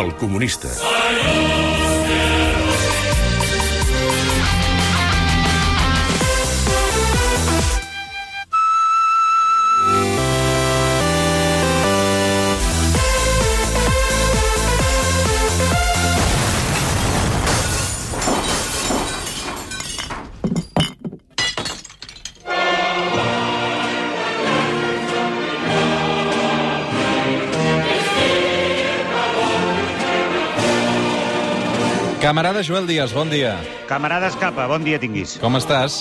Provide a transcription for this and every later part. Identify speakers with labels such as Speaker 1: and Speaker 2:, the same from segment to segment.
Speaker 1: El comunista.
Speaker 2: Camarada Joel Díaz, bon dia.
Speaker 3: Camarada Escapa, bon dia tinguis.
Speaker 2: Com estàs?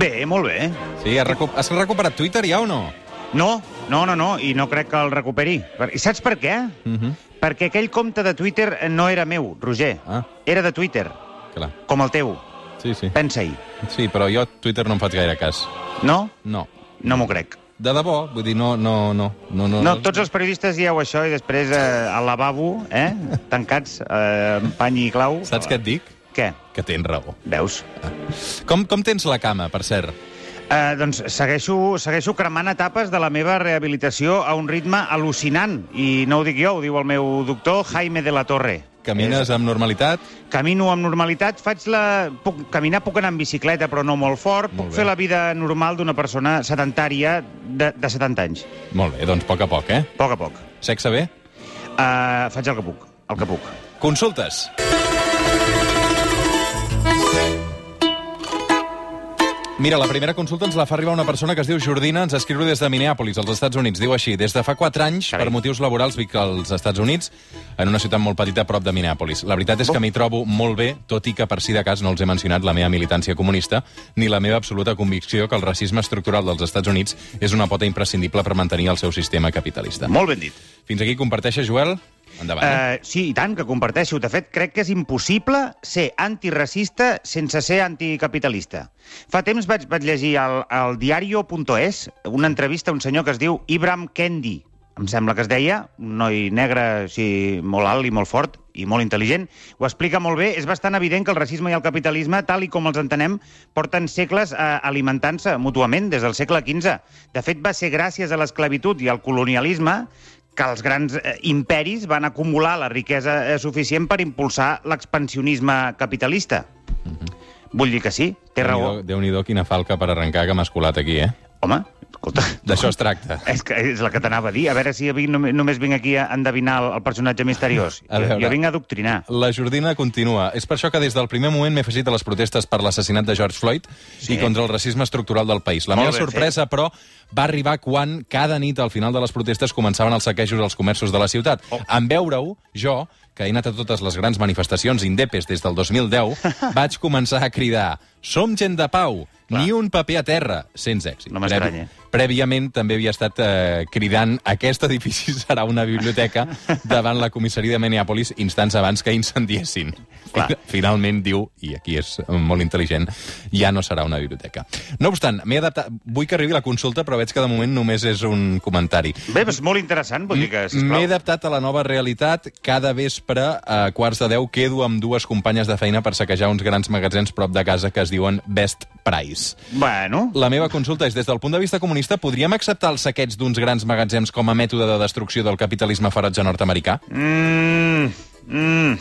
Speaker 3: Bé, eh, molt bé.
Speaker 2: Sí, has, recu has recuperat Twitter ja o no?
Speaker 3: No, no, no, no, i no crec que el recuperi. Per- I saps per què?
Speaker 2: Mhm.
Speaker 3: Perquè aquell compte de Twitter eh, no era meu, Roger.
Speaker 2: Ah.
Speaker 3: Era de Twitter,
Speaker 2: Clar.
Speaker 3: com el teu.
Speaker 2: Sí, sí.
Speaker 3: Pensa-hi.
Speaker 2: Sí, però jo a Twitter no em faig gaire cas.
Speaker 3: No?
Speaker 2: No.
Speaker 3: No m'ho crec.
Speaker 2: De debò, vull dir, no, no, no. No,
Speaker 3: No, tots els periodistes dieu això i després eh, al lavabo, eh, tancats, eh, amb pany i clau.
Speaker 2: Saps què et dic?
Speaker 3: Què?
Speaker 2: Que tens raó.
Speaker 3: Veus?
Speaker 2: Com, com tens la cama, per cert?
Speaker 3: Eh, doncs segueixo, segueixo cremant etapes de la meva rehabilitació a un ritme al·lucinant. I no ho dic jo, ho diu el meu doctor Jaime de la Torre.
Speaker 2: Camines amb normalitat?
Speaker 3: És, camino amb normalitat, faig la... Puc, caminar puc anar amb bicicleta, però no molt fort.
Speaker 2: Molt
Speaker 3: puc
Speaker 2: bé.
Speaker 3: fer la vida normal d'una persona sedentària de, de 70 anys.
Speaker 2: Molt bé, doncs a poc a poc, eh?
Speaker 3: A poc a poc.
Speaker 2: Sexe bé?
Speaker 3: Eh, faig el que puc, el que puc.
Speaker 2: Consultes. Mira, la primera consulta ens la fa arribar una persona que es diu Jordina, ens escriu des de Minneapolis, als Estats Units. Diu així, des de fa 4 anys,
Speaker 3: Carai.
Speaker 2: per motius laborals, vic als Estats Units, en una ciutat molt petita a prop de Minneapolis. La veritat és que m'hi trobo molt bé, tot i que per si de cas no els he mencionat la meva militància comunista, ni la meva absoluta convicció que el racisme estructural dels Estats Units és una pota imprescindible per mantenir el seu sistema capitalista.
Speaker 3: Molt ben dit.
Speaker 2: Fins aquí comparteixes, Joel? Endavant. Eh...
Speaker 3: Eh, sí, i tant, que comparteixo. De fet, crec que és impossible ser antiracista sense ser anticapitalista. Fa temps vaig, vaig llegir al, al diario.es una entrevista a un senyor que es diu Ibram Kendi, em sembla que es deia, un noi negre sí, molt alt i molt fort i molt intel·ligent. Ho explica molt bé. És bastant evident que el racisme i el capitalisme, tal i com els entenem, porten segles eh, alimentant-se mútuament des del segle XV. De fet, va ser gràcies a l'esclavitud i al colonialisme que els grans eh, imperis van acumular la riquesa eh, suficient per impulsar l'expansionisme capitalista.
Speaker 2: Mm-hmm.
Speaker 3: Vull dir que sí, té raó.
Speaker 2: Déu-n'hi-do quina falca per arrencar que m'has colat aquí, eh?
Speaker 3: Home, escolta...
Speaker 2: D'això es tracta.
Speaker 3: És, que és la que t'anava a dir. A veure si vinc, només, només vinc aquí a endevinar el, el personatge misteriós.
Speaker 2: A
Speaker 3: Jo,
Speaker 2: veure.
Speaker 3: jo vinc a doctrinar.
Speaker 2: La Jordina continua. És per això que des del primer moment m'he afegit a les protestes per l'assassinat de George Floyd sí. i contra el racisme estructural del país. La
Speaker 3: Molt
Speaker 2: meva
Speaker 3: ben
Speaker 2: sorpresa, fet. però, va arribar quan cada nit al final de les protestes començaven els saquejos als comerços de la ciutat. Oh. En veure-ho, jo, que he anat a totes les grans manifestacions indepes des del 2010, vaig començar a cridar «Som gent de pau!»
Speaker 3: Clar.
Speaker 2: Ni un paper a terra, sense èxit.
Speaker 3: No m'estranya.
Speaker 2: Prèviament també havia estat eh, cridant aquest edifici serà una biblioteca davant la comissaria de Minneapolis instants abans que incendiessin.
Speaker 3: Clar.
Speaker 2: Finalment diu, i aquí és molt intel·ligent, ja no serà una biblioteca. No obstant, m'he adaptat... Vull que arribi la consulta, però veig que de moment només és un comentari.
Speaker 3: Bé, és molt interessant, vull dir que, sisplau.
Speaker 2: M'he adaptat a la nova realitat. Cada vespre, a quarts de deu, quedo amb dues companyes de feina per saquejar uns grans magatzems prop de casa que es diuen Best Price.
Speaker 3: Bueno,
Speaker 2: La meva consulta és, des del punt de vista comunista, podríem acceptar el saqueig d'uns grans magatzems com a mètode de destrucció del capitalisme ferotge nord-americà?
Speaker 3: Mm, mm.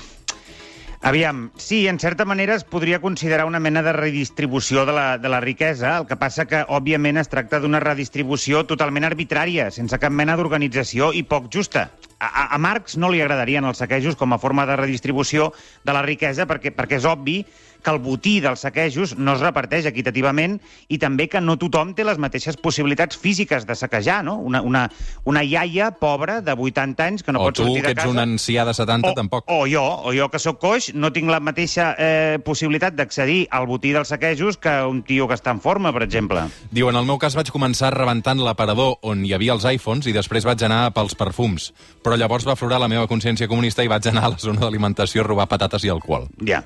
Speaker 3: Aviam, sí, en certa manera es podria considerar una mena de redistribució de la, de la riquesa, el que passa que, òbviament, es tracta d'una redistribució totalment arbitrària, sense cap mena d'organització i poc justa. A, a, a Marx no li agradarien els saquejos com a forma de redistribució de la riquesa perquè, perquè és obvi que el botí dels saquejos no es reparteix equitativament i també que no tothom té les mateixes possibilitats físiques de saquejar, no? Una, una, una iaia pobra de 80 anys que no
Speaker 2: o
Speaker 3: pot
Speaker 2: tu,
Speaker 3: sortir
Speaker 2: que
Speaker 3: de
Speaker 2: ets
Speaker 3: casa...
Speaker 2: un ancià de 70,
Speaker 3: O,
Speaker 2: tampoc.
Speaker 3: o jo, o jo que sóc coix, no tinc la mateixa eh, possibilitat d'accedir al botí dels saquejos que un tio que està en forma, per exemple.
Speaker 2: Diu, en el meu cas vaig començar rebentant l'aparador on hi havia els iPhones i després vaig anar pels perfums. Però llavors va aflorar la meva consciència comunista i vaig anar a la zona d'alimentació a robar patates i alcohol.
Speaker 3: Ja.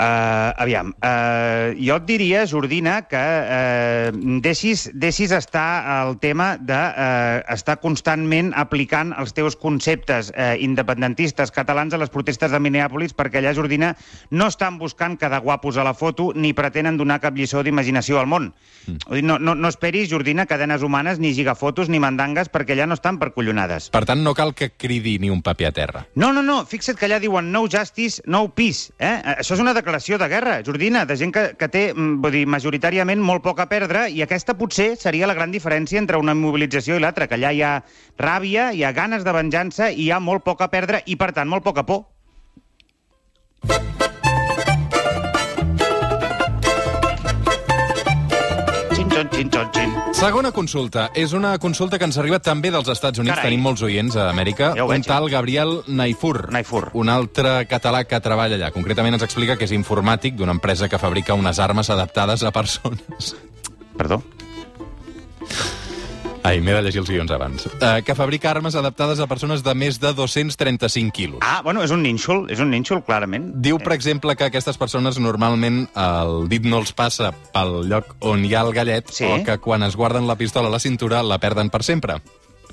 Speaker 3: Uh, aviam, uh, jo et diria, Jordina, que uh, deixis, deixis estar el tema d'estar de, uh, estar constantment aplicant els teus conceptes uh, independentistes catalans a les protestes de Minneapolis, perquè allà, Jordina, no estan buscant quedar guapos a la foto ni pretenen donar cap lliçó d'imaginació al món. Mm. No, no, no esperis, Jordina, cadenes humanes, ni gigafotos, ni mandangues, perquè allà no estan per collonades.
Speaker 2: Per tant, no cal que cridi ni un paper a terra.
Speaker 3: No, no, no, fixa't que allà diuen no justice, no peace. Eh? Això és una declaració declaració de guerra, Jordina, de gent que, que té, mm, vull dir, majoritàriament molt poc a perdre, i aquesta potser seria la gran diferència entre una mobilització i l'altra, que allà hi ha ràbia, hi ha ganes de venjança, i hi ha molt poc a perdre, i per tant, molt poca por. Xin, xin, xin, xin.
Speaker 2: Segona consulta. És una consulta que ens arriba també dels Estats Units.
Speaker 3: Carai.
Speaker 2: Tenim molts oients a Amèrica.
Speaker 3: Ja ho
Speaker 2: un
Speaker 3: veig, eh?
Speaker 2: tal Gabriel Naifur.
Speaker 3: Naifur.
Speaker 2: Un altre català que treballa allà. Concretament ens explica que és informàtic d'una empresa que fabrica unes armes adaptades a persones.
Speaker 3: Perdó?
Speaker 2: Ai, m'he de llegir els guions abans. Uh, que fabrica armes adaptades a persones de més de 235 quilos.
Speaker 3: Ah, bueno, és un nínxol, és un nínxol, clarament.
Speaker 2: Diu, per exemple, que aquestes persones normalment el dit no els passa pel lloc on hi ha el gallet
Speaker 3: Sí.
Speaker 2: o que quan es guarden la pistola a la cintura la perden per sempre.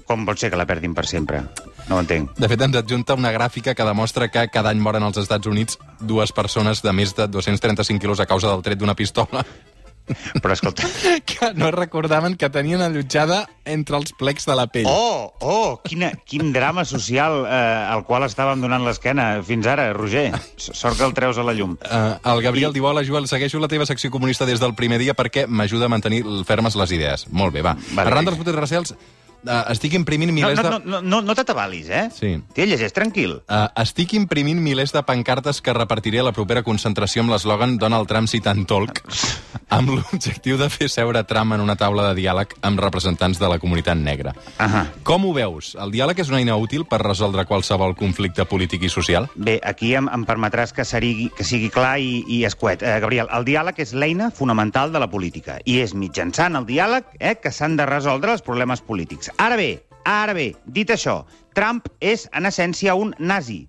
Speaker 3: Com pot ser que la perdin per sempre? No ho entenc.
Speaker 2: De fet, ens adjunta una gràfica que demostra que cada any moren als Estats Units dues persones de més de 235 quilos a causa del tret d'una pistola
Speaker 3: Però escolta...
Speaker 2: que no recordaven que tenien allotjada entre els plecs de la pell.
Speaker 3: Oh, oh, quina, quin drama social eh, al qual estàvem donant l'esquena fins ara, Roger. S- Sort que el treus a la llum.
Speaker 2: Uh, el Gabriel diu, hola, Joel, segueixo la teva secció comunista des del primer dia perquè m'ajuda a mantenir fermes les idees. Molt bé, va.
Speaker 3: Vale.
Speaker 2: Vale. Arran dels putes recels, uh, estic imprimint
Speaker 3: No,
Speaker 2: milers
Speaker 3: no,
Speaker 2: de...
Speaker 3: no, no, no, no t'atabalis, eh?
Speaker 2: Sí.
Speaker 3: Tia, llegeix tranquil.
Speaker 2: Uh, estic imprimint milers de pancartes que repartiré a la propera concentració amb l'eslògan Donald Trump si tant tolc, amb l'objectiu de fer seure Trump en una taula de diàleg amb representants de la comunitat negra.
Speaker 3: Ahà.
Speaker 2: Com ho veus? El diàleg és una eina útil per resoldre qualsevol conflicte polític i social?
Speaker 3: Bé, aquí em, em permetràs que, serigui, que sigui clar i, i escuet. Eh, Gabriel, el diàleg és l'eina fonamental de la política i és mitjançant el diàleg eh, que s'han de resoldre els problemes polítics. Ara bé, ara bé, dit això, Trump és en essència un nazi.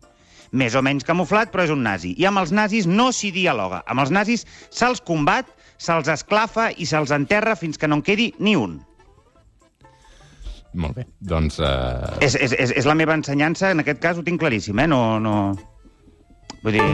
Speaker 3: Més o menys camuflat, però és un nazi. I amb els nazis no s'hi dialoga. Amb els nazis se'ls combat, se'ls esclafa i se'ls enterra fins que no en quedi ni un.
Speaker 2: Molt bé. Doncs... Uh...
Speaker 3: És, és, és, és la meva ensenyança, en aquest cas ho tinc claríssim, eh? No, no... Vull dir...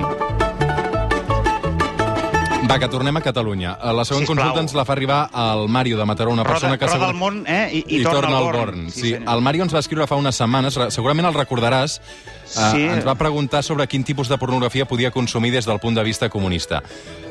Speaker 2: Va, que tornem a Catalunya. Eh, La següent
Speaker 3: Sisplau.
Speaker 2: consulta ens la fa arribar al Mario de Mataró, una persona
Speaker 3: Roda,
Speaker 2: que...
Speaker 3: roda
Speaker 2: segur-
Speaker 3: el món eh? I,
Speaker 2: i, torna, torna al Born. Sí, sí,
Speaker 3: senyor.
Speaker 2: el Mario ens va escriure fa unes setmanes, re- segurament el recordaràs, sí.
Speaker 3: Sí.
Speaker 2: eh, ens va preguntar sobre quin tipus de pornografia podia consumir des del punt de vista comunista.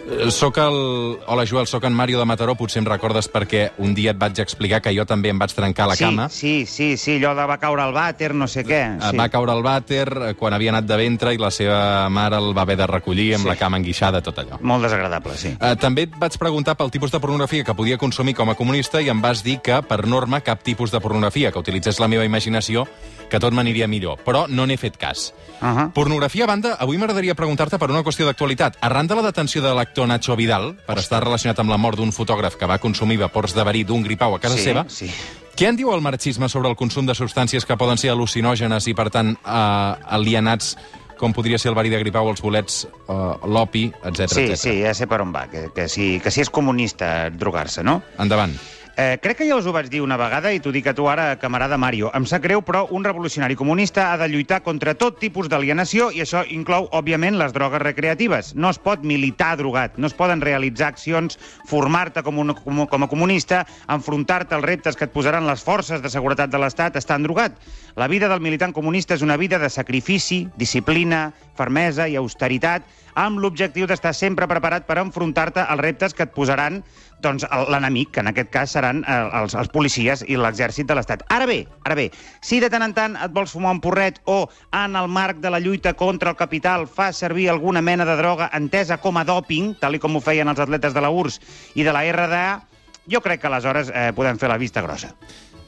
Speaker 2: Eh, Soc el... Hola, Joel, sóc en Mario de Mataró, potser em recordes perquè un dia et vaig explicar que jo també em vaig trencar la
Speaker 3: sí,
Speaker 2: cama.
Speaker 3: Sí, sí, sí, allò de va caure al vàter, no sé què.
Speaker 2: Eh,
Speaker 3: Sí.
Speaker 2: Va caure al vàter eh, quan havia anat de ventre i la seva mare el va haver de recollir amb
Speaker 3: Sí.
Speaker 2: la cama enguixada, tot allò.
Speaker 3: Molt desagradable, sí.
Speaker 2: Eh, també et vaig preguntar pel tipus de pornografia que podia consumir com a comunista i em vas dir que, per norma, cap tipus de pornografia, que utilitzés la meva imaginació, que tot m'aniria millor. Però no n'he fet cas.
Speaker 3: Uh -huh.
Speaker 2: Pornografia a banda, avui m'agradaria preguntar-te per una qüestió d'actualitat. Arran de la detenció de l'actor Nacho Vidal, per estar relacionat amb la mort d'un fotògraf que va consumir vapors de verí d'un gripau a casa
Speaker 3: sí,
Speaker 2: seva,
Speaker 3: Sí.
Speaker 2: què en diu el marxisme sobre el consum de substàncies que poden ser al·lucinògenes i, per tant, eh, alienats com podria ser el verí de gripau, els bolets, eh, l'opi, etc
Speaker 3: Sí, sí, ja sé per on va, que, que, si, que si és comunista drogar-se, no?
Speaker 2: Endavant.
Speaker 3: Eh, crec que ja us ho vaig dir una vegada i t'ho dic a tu ara, camarada Mario. Em sap greu, però un revolucionari comunista ha de lluitar contra tot tipus d'alienació i això inclou, òbviament, les drogues recreatives. No es pot militar drogat, no es poden realitzar accions, formar-te com, un, com, com a comunista, enfrontar-te als reptes que et posaran les forces de seguretat de l'Estat estan drogat. La vida del militant comunista és una vida de sacrifici, disciplina, fermesa i austeritat, amb l'objectiu d'estar sempre preparat per enfrontar-te als reptes que et posaran doncs el- l'enemic, que en aquest cas seran eh, els, els policies i l'exèrcit de l'Estat. Ara bé, ara bé, si de tant en tant et vols fumar un porret o, en el marc de la lluita contra el capital, fa servir alguna mena de droga entesa com a dòping, tal i com ho feien els atletes de la URSS i de la RDA, jo crec que aleshores eh, podem fer la vista grossa.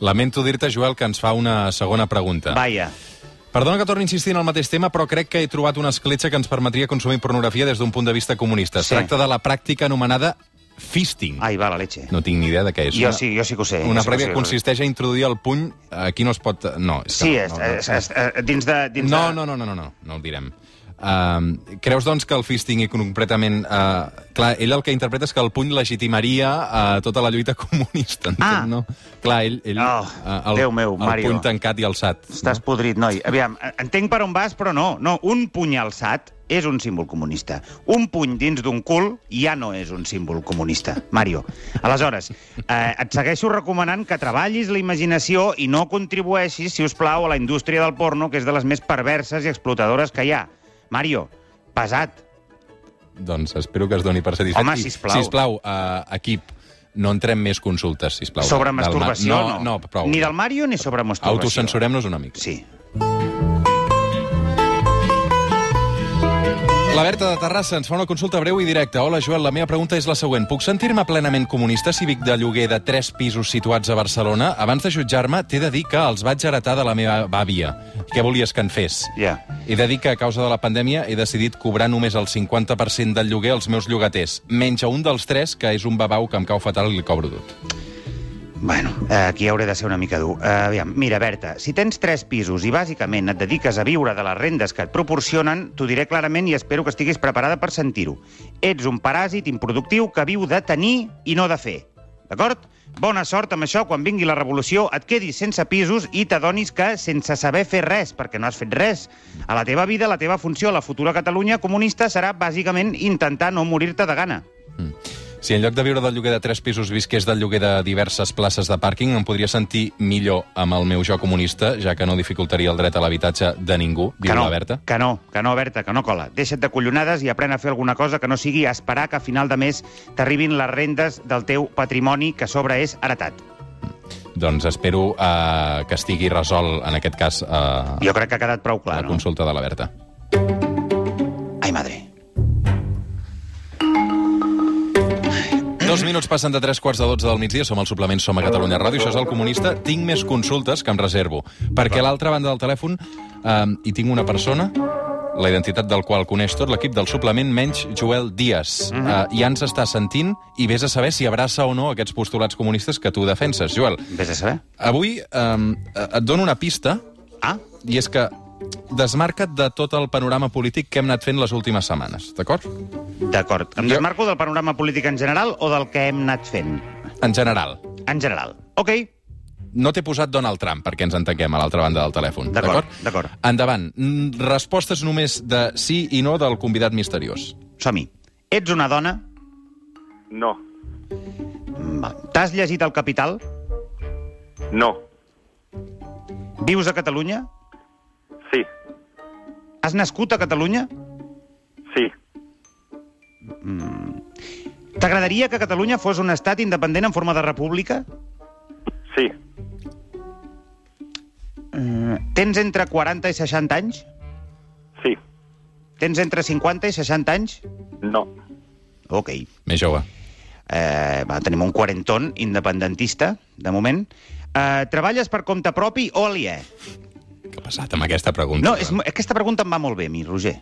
Speaker 2: Lamento dir-te, Joel, que ens fa una segona pregunta.
Speaker 3: Vaja.
Speaker 2: Perdona que torni a insistir en el mateix tema, però crec que he trobat una escletxa que ens permetria consumir pornografia des d'un punt de vista comunista. Es
Speaker 3: Sí.
Speaker 2: tracta de la pràctica anomenada fisting.
Speaker 3: Ai, va la leche.
Speaker 2: No tinc ni idea de què és.
Speaker 3: Jo
Speaker 2: Una-
Speaker 3: sí, eh, jo sí que ho sé.
Speaker 2: Una
Speaker 3: jo sí que ho
Speaker 2: prèctica
Speaker 3: sé.
Speaker 2: que consisteix a introduir el puny... Aquí no es pot... No, és que
Speaker 3: Sí,
Speaker 2: no,
Speaker 3: és,
Speaker 2: no,
Speaker 3: és, és, és, dins de... Dins
Speaker 2: no,
Speaker 3: de...
Speaker 2: no, no, no, no, no, no el direm. Uh, Uh, creus, doncs, que el Fist tingui completament... Uh, clar, ell el que interpreta és que el puny legitimaria uh, tota la lluita comunista,
Speaker 3: Ah.
Speaker 2: entens, no? Clar, ell... ell uh,
Speaker 3: Oh, Déu meu,
Speaker 2: el
Speaker 3: Mario.
Speaker 2: puny tancat i alçat.
Speaker 3: Estàs podrit, noi. Aviam, entenc per on vas, però no. No, un puny alçat és un símbol comunista. Un puny dins d'un cul ja no és un símbol comunista, Mario. Aleshores, eh, et segueixo recomanant que treballis la imaginació i no contribueixis, si us plau, a la indústria del porno, que és de les més perverses i explotadores que hi ha. Mario, pesat.
Speaker 2: Doncs espero que es doni per satisfet.
Speaker 3: Home,
Speaker 2: I,
Speaker 3: sisplau.
Speaker 2: Sisplau, uh, equip, no entrem més consultes, sisplau.
Speaker 3: Sobre
Speaker 2: del Mar-
Speaker 3: masturbació,
Speaker 2: no, no. No, prou.
Speaker 3: Ni del Mario ni sobre masturbació.
Speaker 2: Autocensurem-nos una mica.
Speaker 3: Sí.
Speaker 2: La Berta de Terrassa ens fa una consulta breu i directa. Hola, Joel, la meva pregunta és la següent. Puc sentir-me plenament comunista cívic de lloguer de tres pisos situats a Barcelona? Abans de jutjar-me, t'he de dir que els vaig heretar de la meva bàvia. Què volies que en fes?
Speaker 3: Ja.
Speaker 2: He de dir que a causa de la pandèmia he decidit cobrar només el 50% del lloguer als meus llogaters, menys a un dels tres, que és un babau que em cau fatal i li cobro tot.
Speaker 3: Bueno, eh, aquí hauré de ser una mica dur. Eh, Aviam, mira, Berta, si tens tres pisos i bàsicament et dediques a viure de les rendes que et proporcionen, t'ho diré clarament i espero que estiguis preparada per sentir-ho. Ets un paràsit improductiu que viu de tenir i no de fer. D'acord? Bona sort amb això, quan vingui la revolució et quedis sense pisos i t'adonis que sense saber fer res, perquè no has fet res. A la teva vida, la teva funció, a la futura Catalunya comunista serà bàsicament intentar no morir-te de gana.
Speaker 2: Si en lloc de viure del lloguer de tres pisos visqués del lloguer de diverses places de pàrquing, em podria sentir millor amb el meu jo comunista, ja que no dificultaria el dret a l'habitatge de ningú, diu
Speaker 3: que no,
Speaker 2: la Berta.
Speaker 3: Que no, que no, Berta, que no cola. Deixa't de collonades i aprèn a fer alguna cosa que no sigui esperar que a final de mes t'arribin les rendes del teu patrimoni que a sobre és heretat.
Speaker 2: Doncs espero eh, que estigui resol, en aquest cas, eh,
Speaker 3: Jo crec que ha quedat prou clar,
Speaker 2: la
Speaker 3: no?
Speaker 2: consulta de la Berta.
Speaker 3: Ai, madre.
Speaker 2: Dos minuts passen de tres quarts de dotze del migdia, som al suplement Som a Catalunya Ràdio, això és el comunista. Tinc més consultes que em reservo, perquè a l'altra banda del telèfon eh, hi tinc una persona la identitat del qual coneix tot l'equip del suplement, menys Joel Díaz. Mm -hmm. uh, ja ens està sentint i vés a saber si abraça o no aquests postulats comunistes que tu defenses, Joel.
Speaker 3: Vés a saber.
Speaker 2: Avui um, et dono una pista,
Speaker 3: Ah,
Speaker 2: i és que desmarca't de tot el panorama polític que hem anat fent les últimes setmanes, d'acord?
Speaker 3: d'acord. Em
Speaker 2: Jo-
Speaker 3: desmarco del panorama polític en general o del que hem anat fent?
Speaker 2: En general.
Speaker 3: En general. Ok,
Speaker 2: No t'he posat Donald Trump, perquè ens entenguem a l'altra banda del telèfon.
Speaker 3: D'acord, d'acord.
Speaker 2: Endavant. Mm, Respostes només de sí i no del convidat misteriós.
Speaker 3: som-hi. Ets una dona?
Speaker 1: No,
Speaker 3: Mm, va. T'has llegit El Capital?
Speaker 1: no,
Speaker 3: Vius a Catalunya?
Speaker 1: sí,
Speaker 3: Has nascut a Catalunya?
Speaker 1: sí,
Speaker 3: T'agradaria que Catalunya fos un estat independent en forma de república?
Speaker 1: sí,
Speaker 3: Mm, Tens entre 40 i 60 anys?
Speaker 1: sí,
Speaker 3: Tens entre 50 i 60 anys?
Speaker 1: no,
Speaker 3: Ok.
Speaker 2: Més jove.
Speaker 3: Eh, va, tenim un quarentón independentista, de moment. Eh, treballes per compte propi o aliè?
Speaker 2: Què ha passat amb aquesta pregunta?
Speaker 3: No, és, mo- aquesta pregunta em va molt bé a mi, Roger.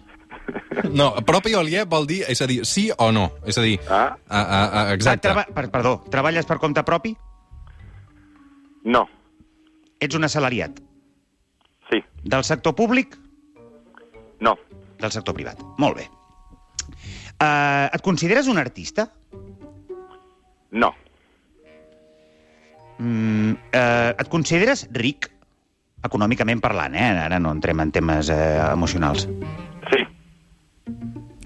Speaker 2: No, propi o aliè vol dir, és a dir, sí o no. És a dir,
Speaker 1: Ah.
Speaker 2: a, a, a, exacte.
Speaker 3: Traba... Per, perdó, treballes per compte propi?
Speaker 1: no,
Speaker 3: Ets un assalariat.
Speaker 1: sí,
Speaker 3: Del sector públic?
Speaker 1: no,
Speaker 3: Del sector privat. Molt bé. Eh, et consideres un artista?
Speaker 1: no,
Speaker 3: Mm, eh, et consideres ric? Econòmicament parlant, eh? Ara no entrem en temes eh, emocionals.
Speaker 1: sí,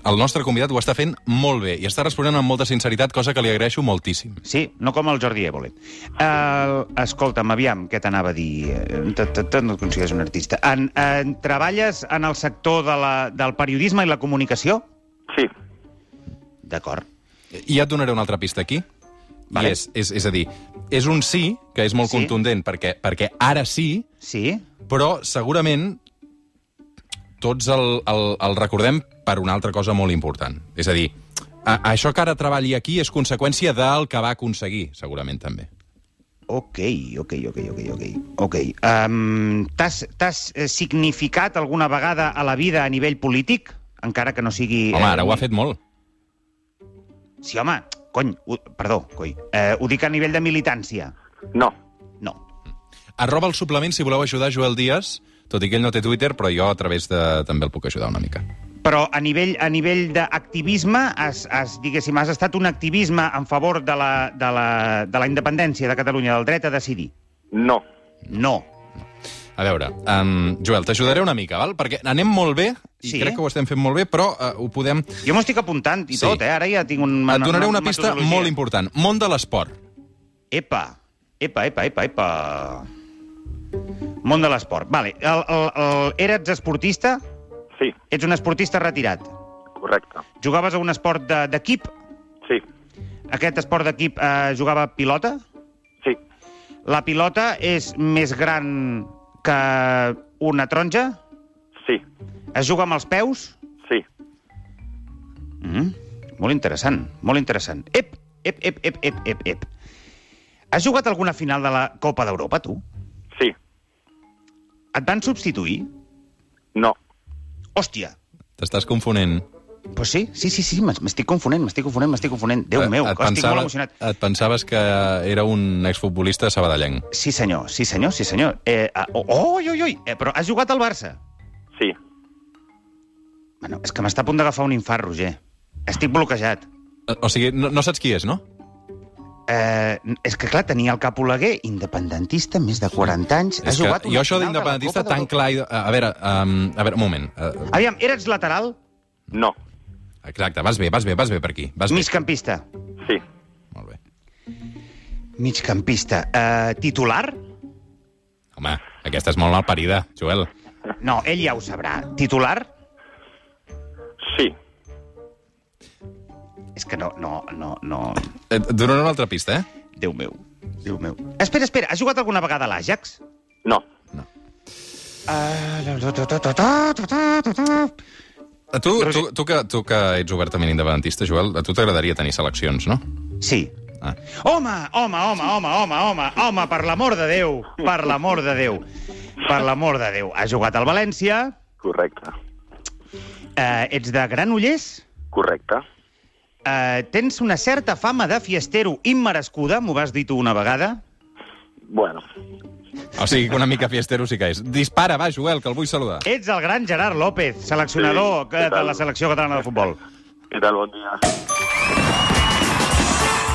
Speaker 2: El nostre convidat ho està fent molt bé i està responent amb molta sinceritat, cosa que li agraeixo moltíssim.
Speaker 3: Sí, no com el Jordi Évole. Uh, escolta'm, aviam, què t'anava a dir? Eh, t- t- t- No et consideres un artista. En, en, treballes en el sector de la, del periodisme i la comunicació?
Speaker 1: sí,
Speaker 3: D'acord.
Speaker 2: I ja et donaré una altra pista aquí.
Speaker 3: Vale.
Speaker 2: I és, és, és a dir, és un sí, que és molt
Speaker 3: Sí.
Speaker 2: contundent, perquè, perquè ara sí,
Speaker 3: Sí?
Speaker 2: però segurament tots el, el, el recordem per una altra cosa molt important. És a dir, a, això que ara treballi aquí és conseqüència del que va aconseguir, segurament també.
Speaker 3: Ok, ok, ok, ok, ok. okay. Um, T'has t'has, eh, significat alguna vegada a la vida a nivell polític? Encara que no sigui...
Speaker 2: Home, ara
Speaker 3: eh,
Speaker 2: ho ha fet molt.
Speaker 3: Sí, home, cony, ho, perdó, coi. Eh, ho dic a nivell de militància.
Speaker 1: no,
Speaker 3: No.
Speaker 2: Arroba el suplement si voleu ajudar Joel Díaz, tot i que ell no té Twitter, però jo a través de... també el puc ajudar una mica.
Speaker 3: però a nivell, a nivell d'activisme, has, has, diguéssim, has estat un activisme en favor de la, de, la, de la independència de Catalunya, del dret a decidir.
Speaker 1: no,
Speaker 3: No.
Speaker 2: A veure, um, Joel, t'ajudaré una mica, val? Perquè anem molt bé, i
Speaker 3: Sí.
Speaker 2: crec que ho estem fent molt bé, però uh, ho podem...
Speaker 3: Jo m'ho estic apuntant i
Speaker 2: Sí.
Speaker 3: sí. tot, eh? Ara ja tinc un,
Speaker 2: Et donaré una pista
Speaker 3: metodologia.
Speaker 2: molt important. Món de l'esport.
Speaker 3: Epa, epa, epa, epa, epa. Món de l'esport. Vale. El, el, el, eres esportista?
Speaker 1: sí,
Speaker 3: Ets un esportista retirat.
Speaker 1: correcte.
Speaker 3: Jugaves a un esport de- d'equip?
Speaker 1: Sí,
Speaker 3: Aquest esport d'equip eh, jugava a pilota?
Speaker 1: sí,
Speaker 3: La pilota és més gran que una taronja?
Speaker 1: sí,
Speaker 3: Es juga amb els peus?
Speaker 1: sí,
Speaker 3: Mm, molt interessant, molt interessant. Ep, ep, ep, ep, ep, ep, ep. Has jugat alguna final de la Copa d'Europa, tu?
Speaker 1: sí,
Speaker 3: Et van substituir?
Speaker 1: no,
Speaker 3: Hòstia!
Speaker 2: T'estàs confonent.
Speaker 3: Pues sí, sí, sí, sí, m'es- m'estic confonent, m'estic confonent, m'estic confonent. Déu
Speaker 2: Et-
Speaker 3: meu,
Speaker 2: Eh, et,
Speaker 3: que estic molt
Speaker 2: pensava-
Speaker 3: emocionat.
Speaker 2: Et pensaves que era un exfutbolista sabadellenc.
Speaker 3: Sí, senyor, sí, senyor, sí, senyor. Eh, ah, oh, oi, oi, oi, eh, però has jugat al Barça?
Speaker 1: sí,
Speaker 3: Bueno, és que m'està a punt d'agafar un infart, Roger. Estic bloquejat.
Speaker 2: O- O sigui, no, no saps qui és, no?
Speaker 3: Eh, és que, clar, tenia el cap Oleguer, independentista, més de 40 anys. Ha
Speaker 2: és que
Speaker 3: jugat una
Speaker 2: jo això
Speaker 3: final de la
Speaker 2: d'independentista
Speaker 3: Copa
Speaker 2: tan
Speaker 3: d'Europa.
Speaker 2: clar... i- A veure, um, a veure, un moment. Uh,
Speaker 3: Aviam, eres lateral,
Speaker 1: no,
Speaker 2: exacte, vas bé, vas bé, vas bé per aquí. Vas bé.
Speaker 3: migcampista.
Speaker 1: sí,
Speaker 2: Molt bé.
Speaker 3: Migcampista. Eh, titular?
Speaker 2: Home, aquesta és molt mal parida, Joel.
Speaker 3: No, ell ja ho sabrà. Titular?
Speaker 1: sí,
Speaker 3: És que no, no, no, no...
Speaker 2: Eh, Et et donaré una altra pista, eh?
Speaker 3: Déu meu, Déu meu. Espera, espera, has jugat alguna vegada a l'Àjax?
Speaker 1: no,
Speaker 3: Ah, ta, ta, ta, ta, ta, ta, ta, ta.
Speaker 2: A Eh, tu,
Speaker 3: Però
Speaker 2: tu, tu, que, tu que ets obertament independentista, Joel, a tu t'agradaria tenir seleccions, no?
Speaker 3: Sí.
Speaker 2: Ah.
Speaker 3: Home, home, home, home, home, home, home, per l'amor de Déu, per l'amor de Déu, per l'amor de Déu. Has jugat al València,
Speaker 1: correcte,
Speaker 3: eh, ets de Granollers,
Speaker 1: correcte,
Speaker 3: eh, tens una certa fama de fiestero immerescuda, m'ho vas dir tu una vegada.
Speaker 1: bueno,
Speaker 2: O sigui, que una mica fiestero sí que és. Dispara, va, Joel, que el vull saludar.
Speaker 3: Ets el gran Gerard López, seleccionador
Speaker 1: Sí,
Speaker 3: sí,
Speaker 1: què
Speaker 3: de
Speaker 1: tal?
Speaker 3: la selecció catalana de futbol.
Speaker 1: què tal, bon dia?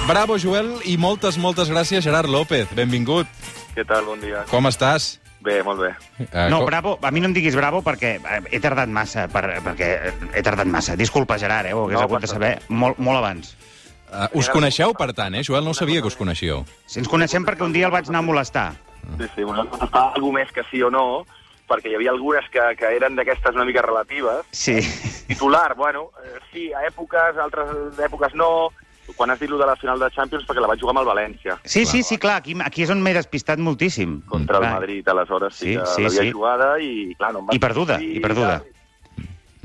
Speaker 2: Bravo, Joel, i moltes, moltes gràcies, Gerard López. Benvingut.
Speaker 1: Què tal, bon dia?
Speaker 2: Com estàs?
Speaker 1: Bé, molt bé.
Speaker 2: Eh,
Speaker 3: No,
Speaker 2: com-
Speaker 3: bravo, a mi no em diguis bravo perquè eh, he tardat massa, per, perquè eh, he tardat massa. Disculpa, Gerard, eh, ho hagués
Speaker 1: No,
Speaker 3: hagut de
Speaker 1: passa.
Speaker 3: saber molt, molt abans.
Speaker 2: Eh, us coneixeu, per tant, eh, Joel? No sabia que us coneixíeu.
Speaker 3: Si ens coneixem perquè un dia el vaig anar a molestar.
Speaker 1: Sí, sí, vosaltres estava alguna més que sí o no, perquè hi havia algunes que, que eren d'aquestes una mica relatives.
Speaker 3: Sí.
Speaker 1: Titular, bueno, eh, sí, a èpoques, altres èpoques no. Quan has dit lo de la final de Champions, perquè la vaig jugar amb el València.
Speaker 3: Sí, sí, sí, clar, aquí, aquí és on m'he despistat moltíssim.
Speaker 1: Contra el
Speaker 3: Clar.
Speaker 1: Madrid, aleshores
Speaker 3: Sí,
Speaker 1: sí, que
Speaker 3: sí,
Speaker 1: l'havia
Speaker 3: sí.
Speaker 1: jugada i, clar, no em va
Speaker 3: I perduda,
Speaker 1: sortir,
Speaker 3: i perduda.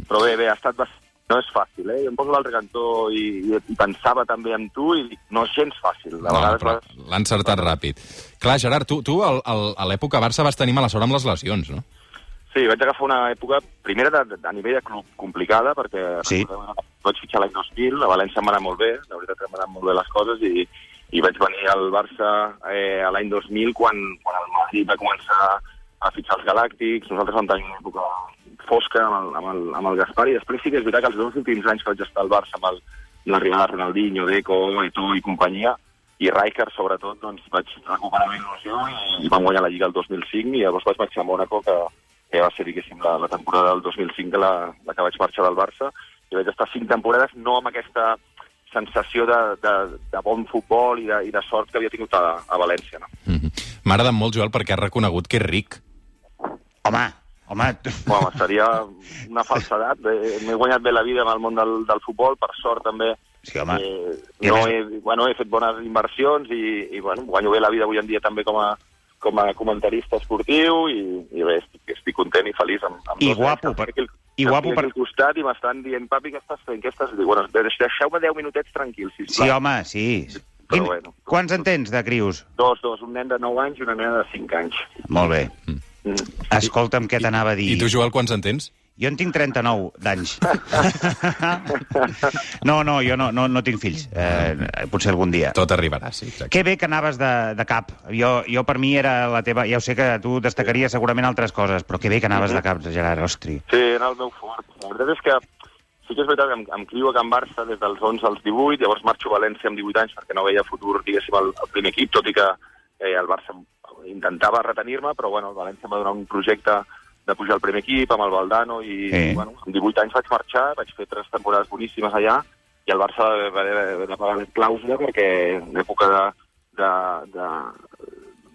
Speaker 1: Però bé, bé, ha estat bastant... No és fàcil, eh? Jo em poso a l'altre cantó i, i, i pensava també en tu i dic, no és gens fàcil. De
Speaker 2: No,
Speaker 1: vegades...
Speaker 2: però
Speaker 1: No,
Speaker 2: l'ha encertat ràpid. Clar, Gerard, tu, tu al, al, a l'època Barça vas tenir mala sort amb les lesions, no?
Speaker 1: Sí, vaig agafar una època, primera de, de, a nivell de club complicada, perquè
Speaker 3: Sí.
Speaker 1: recordem, vaig fitxar l'any 2000, a València em va anar molt bé, la veritat que m'han anat molt bé les coses, i, i vaig venir al Barça eh, a l'any 2000, quan, quan el Madrid va començar a fitxar els Galàctics, nosaltres vam tenir una època fosca amb el, amb el, amb el Gaspar, i després sí que és veritat que els dos últims anys que vaig estar al Barça amb el- amb l'arribada de Ronaldinho, Deco, Eto'o i companyia, i Rijkaard, sobretot, doncs, vaig recuperar la il·lusió i, i vam guanyar la Lliga el 2005 i llavors vaig marxar a Mónaco, que, que va ser, diguéssim, la, la temporada del 2005 que la, la que vaig marxar del Barça i vaig estar cinc temporades no amb aquesta sensació de, de, de bon futbol i de, i de sort que havia tingut a, a València. No?
Speaker 2: Mm -hmm. M'ha agradat molt, Joel, perquè has reconegut que és ric.
Speaker 3: Home, home,
Speaker 1: Bueno, seria una falsedat. Eh, M'he guanyat bé la vida en el món del, del futbol, per sort també
Speaker 3: Sí, home.
Speaker 1: Eh,
Speaker 3: I a
Speaker 1: no
Speaker 3: més-
Speaker 1: he, bueno, he fet bones inversions i, i bueno, guanyo bé la vida avui en dia també com a, com a comentarista esportiu i, i bé, estic, estic content i feliç amb, amb
Speaker 3: I
Speaker 1: dos
Speaker 3: guapo,
Speaker 1: nens que
Speaker 3: per-
Speaker 1: estic al-
Speaker 3: i
Speaker 1: que
Speaker 3: guapo
Speaker 1: estic
Speaker 3: per-
Speaker 1: aquí al costat i m'estan dient, papi, què estàs fent? Què estàs... Dic, bueno, deix- deixeu-me 10 minutets tranquils, sisplau.
Speaker 3: Sí, home, sí.
Speaker 1: Però bueno.
Speaker 3: Quants en tens, de crius?
Speaker 1: Dos, dos, un nen de 9 anys i una nena de 5 anys.
Speaker 3: Molt bé.
Speaker 1: Mm.
Speaker 3: Escolta'm què t'anava a dir.
Speaker 2: I, I tu, Joel, quants en tens?
Speaker 3: Jo en tinc 39 d'anys. no, no, jo no, no, no tinc fills. Eh, potser algun dia.
Speaker 2: Tot arribarà, sí, exacte.
Speaker 3: Que bé que anaves de, de cap. Jo, jo per mi era la teva... Ja ho sé que tu destacaries segurament altres coses, però que bé que anaves de cap, Gerard, ostri.
Speaker 1: Sí, era el meu fort. La veritat és que Sí que és veritat que em, em crio a Can Barça des dels 11 als 18, llavors marxo a València amb 18 anys perquè no veia futur, diguéssim, al, al primer equip, tot i que eh, el Barça intentava retenir-me, però bueno, el València em va donar un projecte de pujar al primer equip amb el Valdano i, sí.
Speaker 3: Sí.
Speaker 1: bueno, amb 18 anys vaig marxar, vaig fer tres temporades boníssimes allà i el Barça va haver de- de pagar les clàusula perquè en època de, de, de,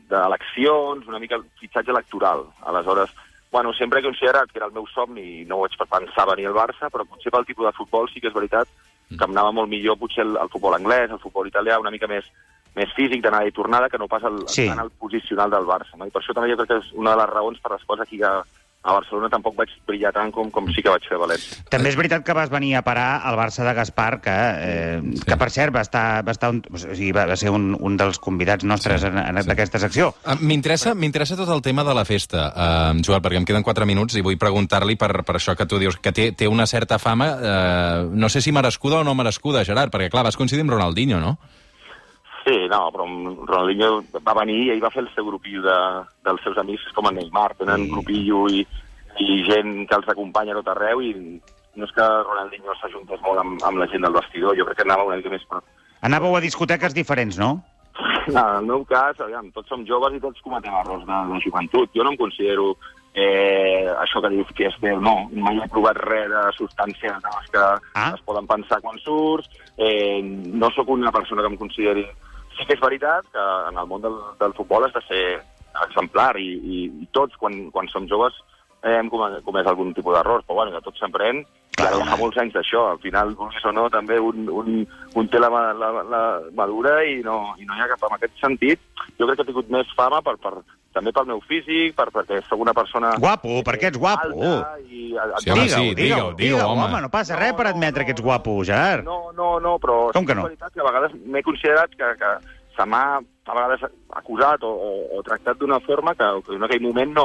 Speaker 1: d'eleccions, una mica el fitxatge electoral. Aleshores, bueno, sempre he considerat que era el meu somni i no ho vaig pensar venir al Barça, però potser pel tipus de futbol sí que és veritat que em anava molt millor potser el, el futbol anglès, el futbol italià, una mica més, més físic d'anada i tornada que no pas el,
Speaker 3: Sí.
Speaker 1: sí. tant el posicional del Barça. No? I per això també jo crec que és una de les raons per les quals aquí a, a Barcelona tampoc vaig brillar tant com, com sí que vaig fer a València.
Speaker 3: També és veritat que vas venir a parar al Barça de Gaspar, que, eh, sí. que per cert va estar, va, estar un, o sigui, va va ser un, un dels convidats nostres
Speaker 2: Sí,
Speaker 3: sí.
Speaker 2: sí.
Speaker 3: d'aquesta secció.
Speaker 2: Ah, M'interessa m'interessa tot el tema de la festa, eh, Joel, perquè em queden 4 minuts i vull preguntar-li per, per això que tu dius, que té, té una certa fama, eh, no sé si merescuda o no merescuda, Gerard, perquè clar, vas coincidir amb Ronaldinho, no?
Speaker 1: Sí, no, però Ronaldinho va venir i ell va fer el seu grupillo de, dels seus amics, és com en Neymar,
Speaker 3: Sí.
Speaker 1: tenen sí. grupillo i, i gent que els acompanya a tot arreu i no és que Ronaldinho s'ajuntés molt amb, amb la gent del vestidor, jo crec que anava una mica més... Per...
Speaker 3: Anàveu a discoteques diferents, no?
Speaker 1: No, en el meu cas, aviam, tots som joves i tots cometem errors de, de joventut. Jo no em considero eh, això que dius que és teu, no. Mai he provat res de substàncies de les que
Speaker 3: Ah.
Speaker 1: ah. es poden pensar quan surts. Eh, no sóc una persona que em consideri... Sí que és veritat que en el món del, del futbol has de ser exemplar i, i, i tots, quan, quan som joves, eh, hem come- comès algun tipus d'errors, però bueno, de tot se'n pren.
Speaker 3: Clar,
Speaker 1: Clar,
Speaker 3: home.
Speaker 1: fa molts anys d'això. Al final, vulguis o no, també un, un, un té la, ma- la, la madura i no, i no hi ha cap... En aquest sentit, jo crec que he tingut més fama per, per, també pel meu físic, per, perquè sóc una persona...
Speaker 3: Guapo, perquè ets guapo.
Speaker 1: Ah, Alta i, a, a,
Speaker 2: Sí, home, sí, digue-ho, digue-ho,
Speaker 3: home.
Speaker 2: home,
Speaker 3: no passa res
Speaker 1: No,
Speaker 3: per
Speaker 1: no,
Speaker 3: admetre que ets
Speaker 1: no.
Speaker 3: guapo, Gerard. No.
Speaker 1: No, no, no, però...
Speaker 3: Com que
Speaker 1: sí,
Speaker 3: no?
Speaker 1: És veritat que a vegades m'he considerat que, que se m'ha a vegades acusat o, o, o tractat d'una forma que, que en aquell moment no,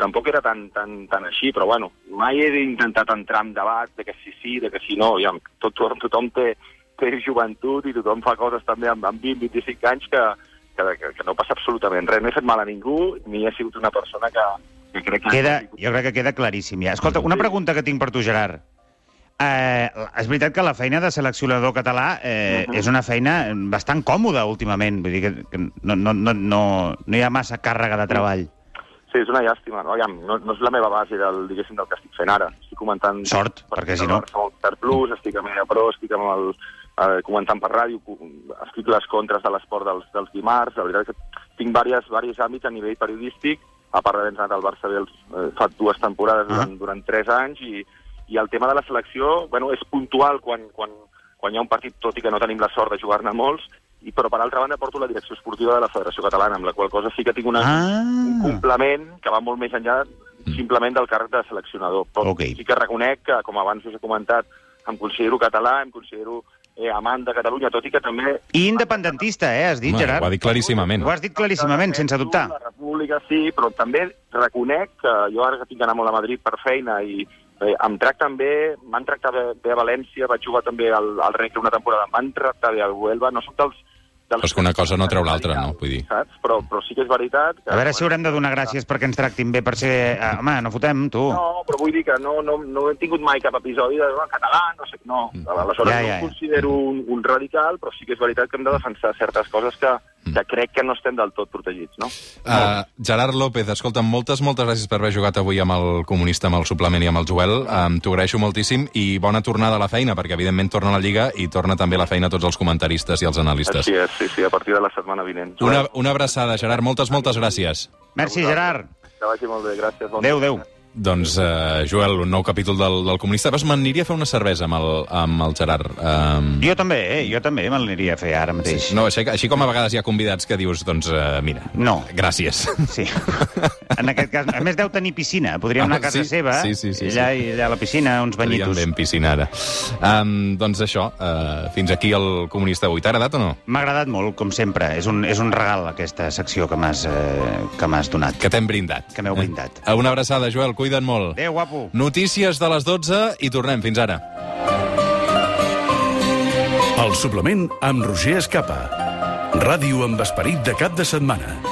Speaker 1: tampoc era tan, tan, tan així, però bueno, mai he intentat entrar en debat de que si sí, de que si no, i tot, tothom té, té joventut i tothom fa coses també amb, amb 20-25 anys que, que, que, que no passa absolutament res. No he fet mal a ningú, ni he sigut una persona que, que crec que...
Speaker 3: Queda, jo crec que queda claríssim ja. Escolta, una pregunta que tinc per tu, Gerard. Eh, és veritat que la feina de seleccionador català eh,
Speaker 1: Mhm.
Speaker 3: és una feina bastant còmoda últimament. Vull dir que, que no, no, no, no, no hi ha massa càrrega de treball.
Speaker 1: Sí, és una llàstima. No, Aviam, no, no és la meva base del, diguéssim, del que estic fent ara. Estic comentant...
Speaker 3: Sort, perquè si no-
Speaker 1: Per Plus, estic a Media Pro, estic amb el, eh, comentant per ràdio, cu- escric les contres de l'esport dels, dels dimarts. La veritat és que tinc diverses, diversos àmbits a nivell periodístic, a part d'haver anat al Barça bé els, eh, fa dues temporades
Speaker 3: Ah.
Speaker 1: durant, durant tres anys, i, i el tema de la selecció bueno, és puntual quan, quan, quan hi ha un partit, tot i que no tenim la sort de jugar-ne molts, i, però per altra banda porto la direcció esportiva de la Federació Catalana, amb la qual cosa sí que tinc una, un
Speaker 3: Ah,
Speaker 1: complement que va molt més enllà
Speaker 2: Mm.
Speaker 1: simplement del càrrec de seleccionador. Però
Speaker 3: Ok.
Speaker 1: sí que reconec que, com abans us he comentat, em considero català, em considero eh, amant de Catalunya, tot i que també...
Speaker 3: I independentista, eh, has dit,
Speaker 2: Home,
Speaker 3: Gerard?
Speaker 2: ho ha dit claríssimament.
Speaker 3: Ho has dit claríssimament, sense dubtar.
Speaker 1: La república sí, però també reconec que jo ara que tinc que anar molt a Madrid per feina i eh, em tracten bé, m'han tractat bé, bé a València, vaig jugar també al, al Recre una temporada, m'han tractat bé al Huelva, no sóc dels... dels
Speaker 2: Però és que una cosa no treu l'altra, no? Vull dir.
Speaker 1: Saps? Però, però sí que és veritat... Que,
Speaker 3: A veure si haurem de donar gràcies perquè ens tractin bé per ser... Ah, home, no fotem, tu.
Speaker 1: No, però vull dir que no, no, no he tingut mai cap episodi de "Ah, català, no sé, no. Aleshores
Speaker 3: Ja, ja,
Speaker 1: ja, ja,
Speaker 3: ja.
Speaker 1: no em considero un, un radical, però sí que és veritat que hem de defensar certes coses que, que crec que no estem del tot protegits, no?
Speaker 2: Uh, Gerard López, escolta'm, moltes, moltes gràcies per haver jugat avui amb el comunista, amb el suplement i amb el Joel. Um, T'ho agraeixo moltíssim i bona tornada a la feina, perquè evidentment torna a la Lliga i torna també a la feina a tots els comentaristes i els analistes.
Speaker 1: Així és, sí, sí, a partir de la setmana vinent.
Speaker 2: Una, una abraçada, Gerard. Moltes, moltes gràcies.
Speaker 3: Merci, Gerard.
Speaker 1: Que vagi molt bé, gràcies. Bon
Speaker 3: Adéu, adéu.
Speaker 2: Doncs, eh, Joel, un nou capítol del, del Comunista. Vas, m'aniria a fer una cervesa amb el, amb el Gerard. Um,
Speaker 3: Jo també, eh? Jo també me l'aniria a fer ara mateix.
Speaker 2: no, així, així com a vegades hi ha convidats que dius, doncs, eh, mira,
Speaker 3: No.
Speaker 2: gràcies.
Speaker 3: Sí. En aquest cas, a més deu tenir piscina. Podríem anar a casa
Speaker 2: Ah, Sí,
Speaker 3: seva,
Speaker 2: sí, sí, sí,
Speaker 3: allà, i allà a la piscina, uns
Speaker 2: Estaríem
Speaker 3: banyitos.
Speaker 2: ben piscina ara. Um, doncs això, uh, fins aquí el Comunista avui. T'ha agradat o no?
Speaker 3: M'ha agradat molt, com sempre. És un, és un regal, aquesta secció que m'has eh, que m'has donat.
Speaker 2: Que t'hem brindat.
Speaker 3: Que m'heu brindat.
Speaker 2: Eh? Una abraçada, Joel, cuida't molt.
Speaker 3: Adéu, guapo.
Speaker 2: Notícies de les 12 i tornem. Fins ara.
Speaker 4: El suplement amb Roger Escapa. Ràdio amb esperit de cap de setmana.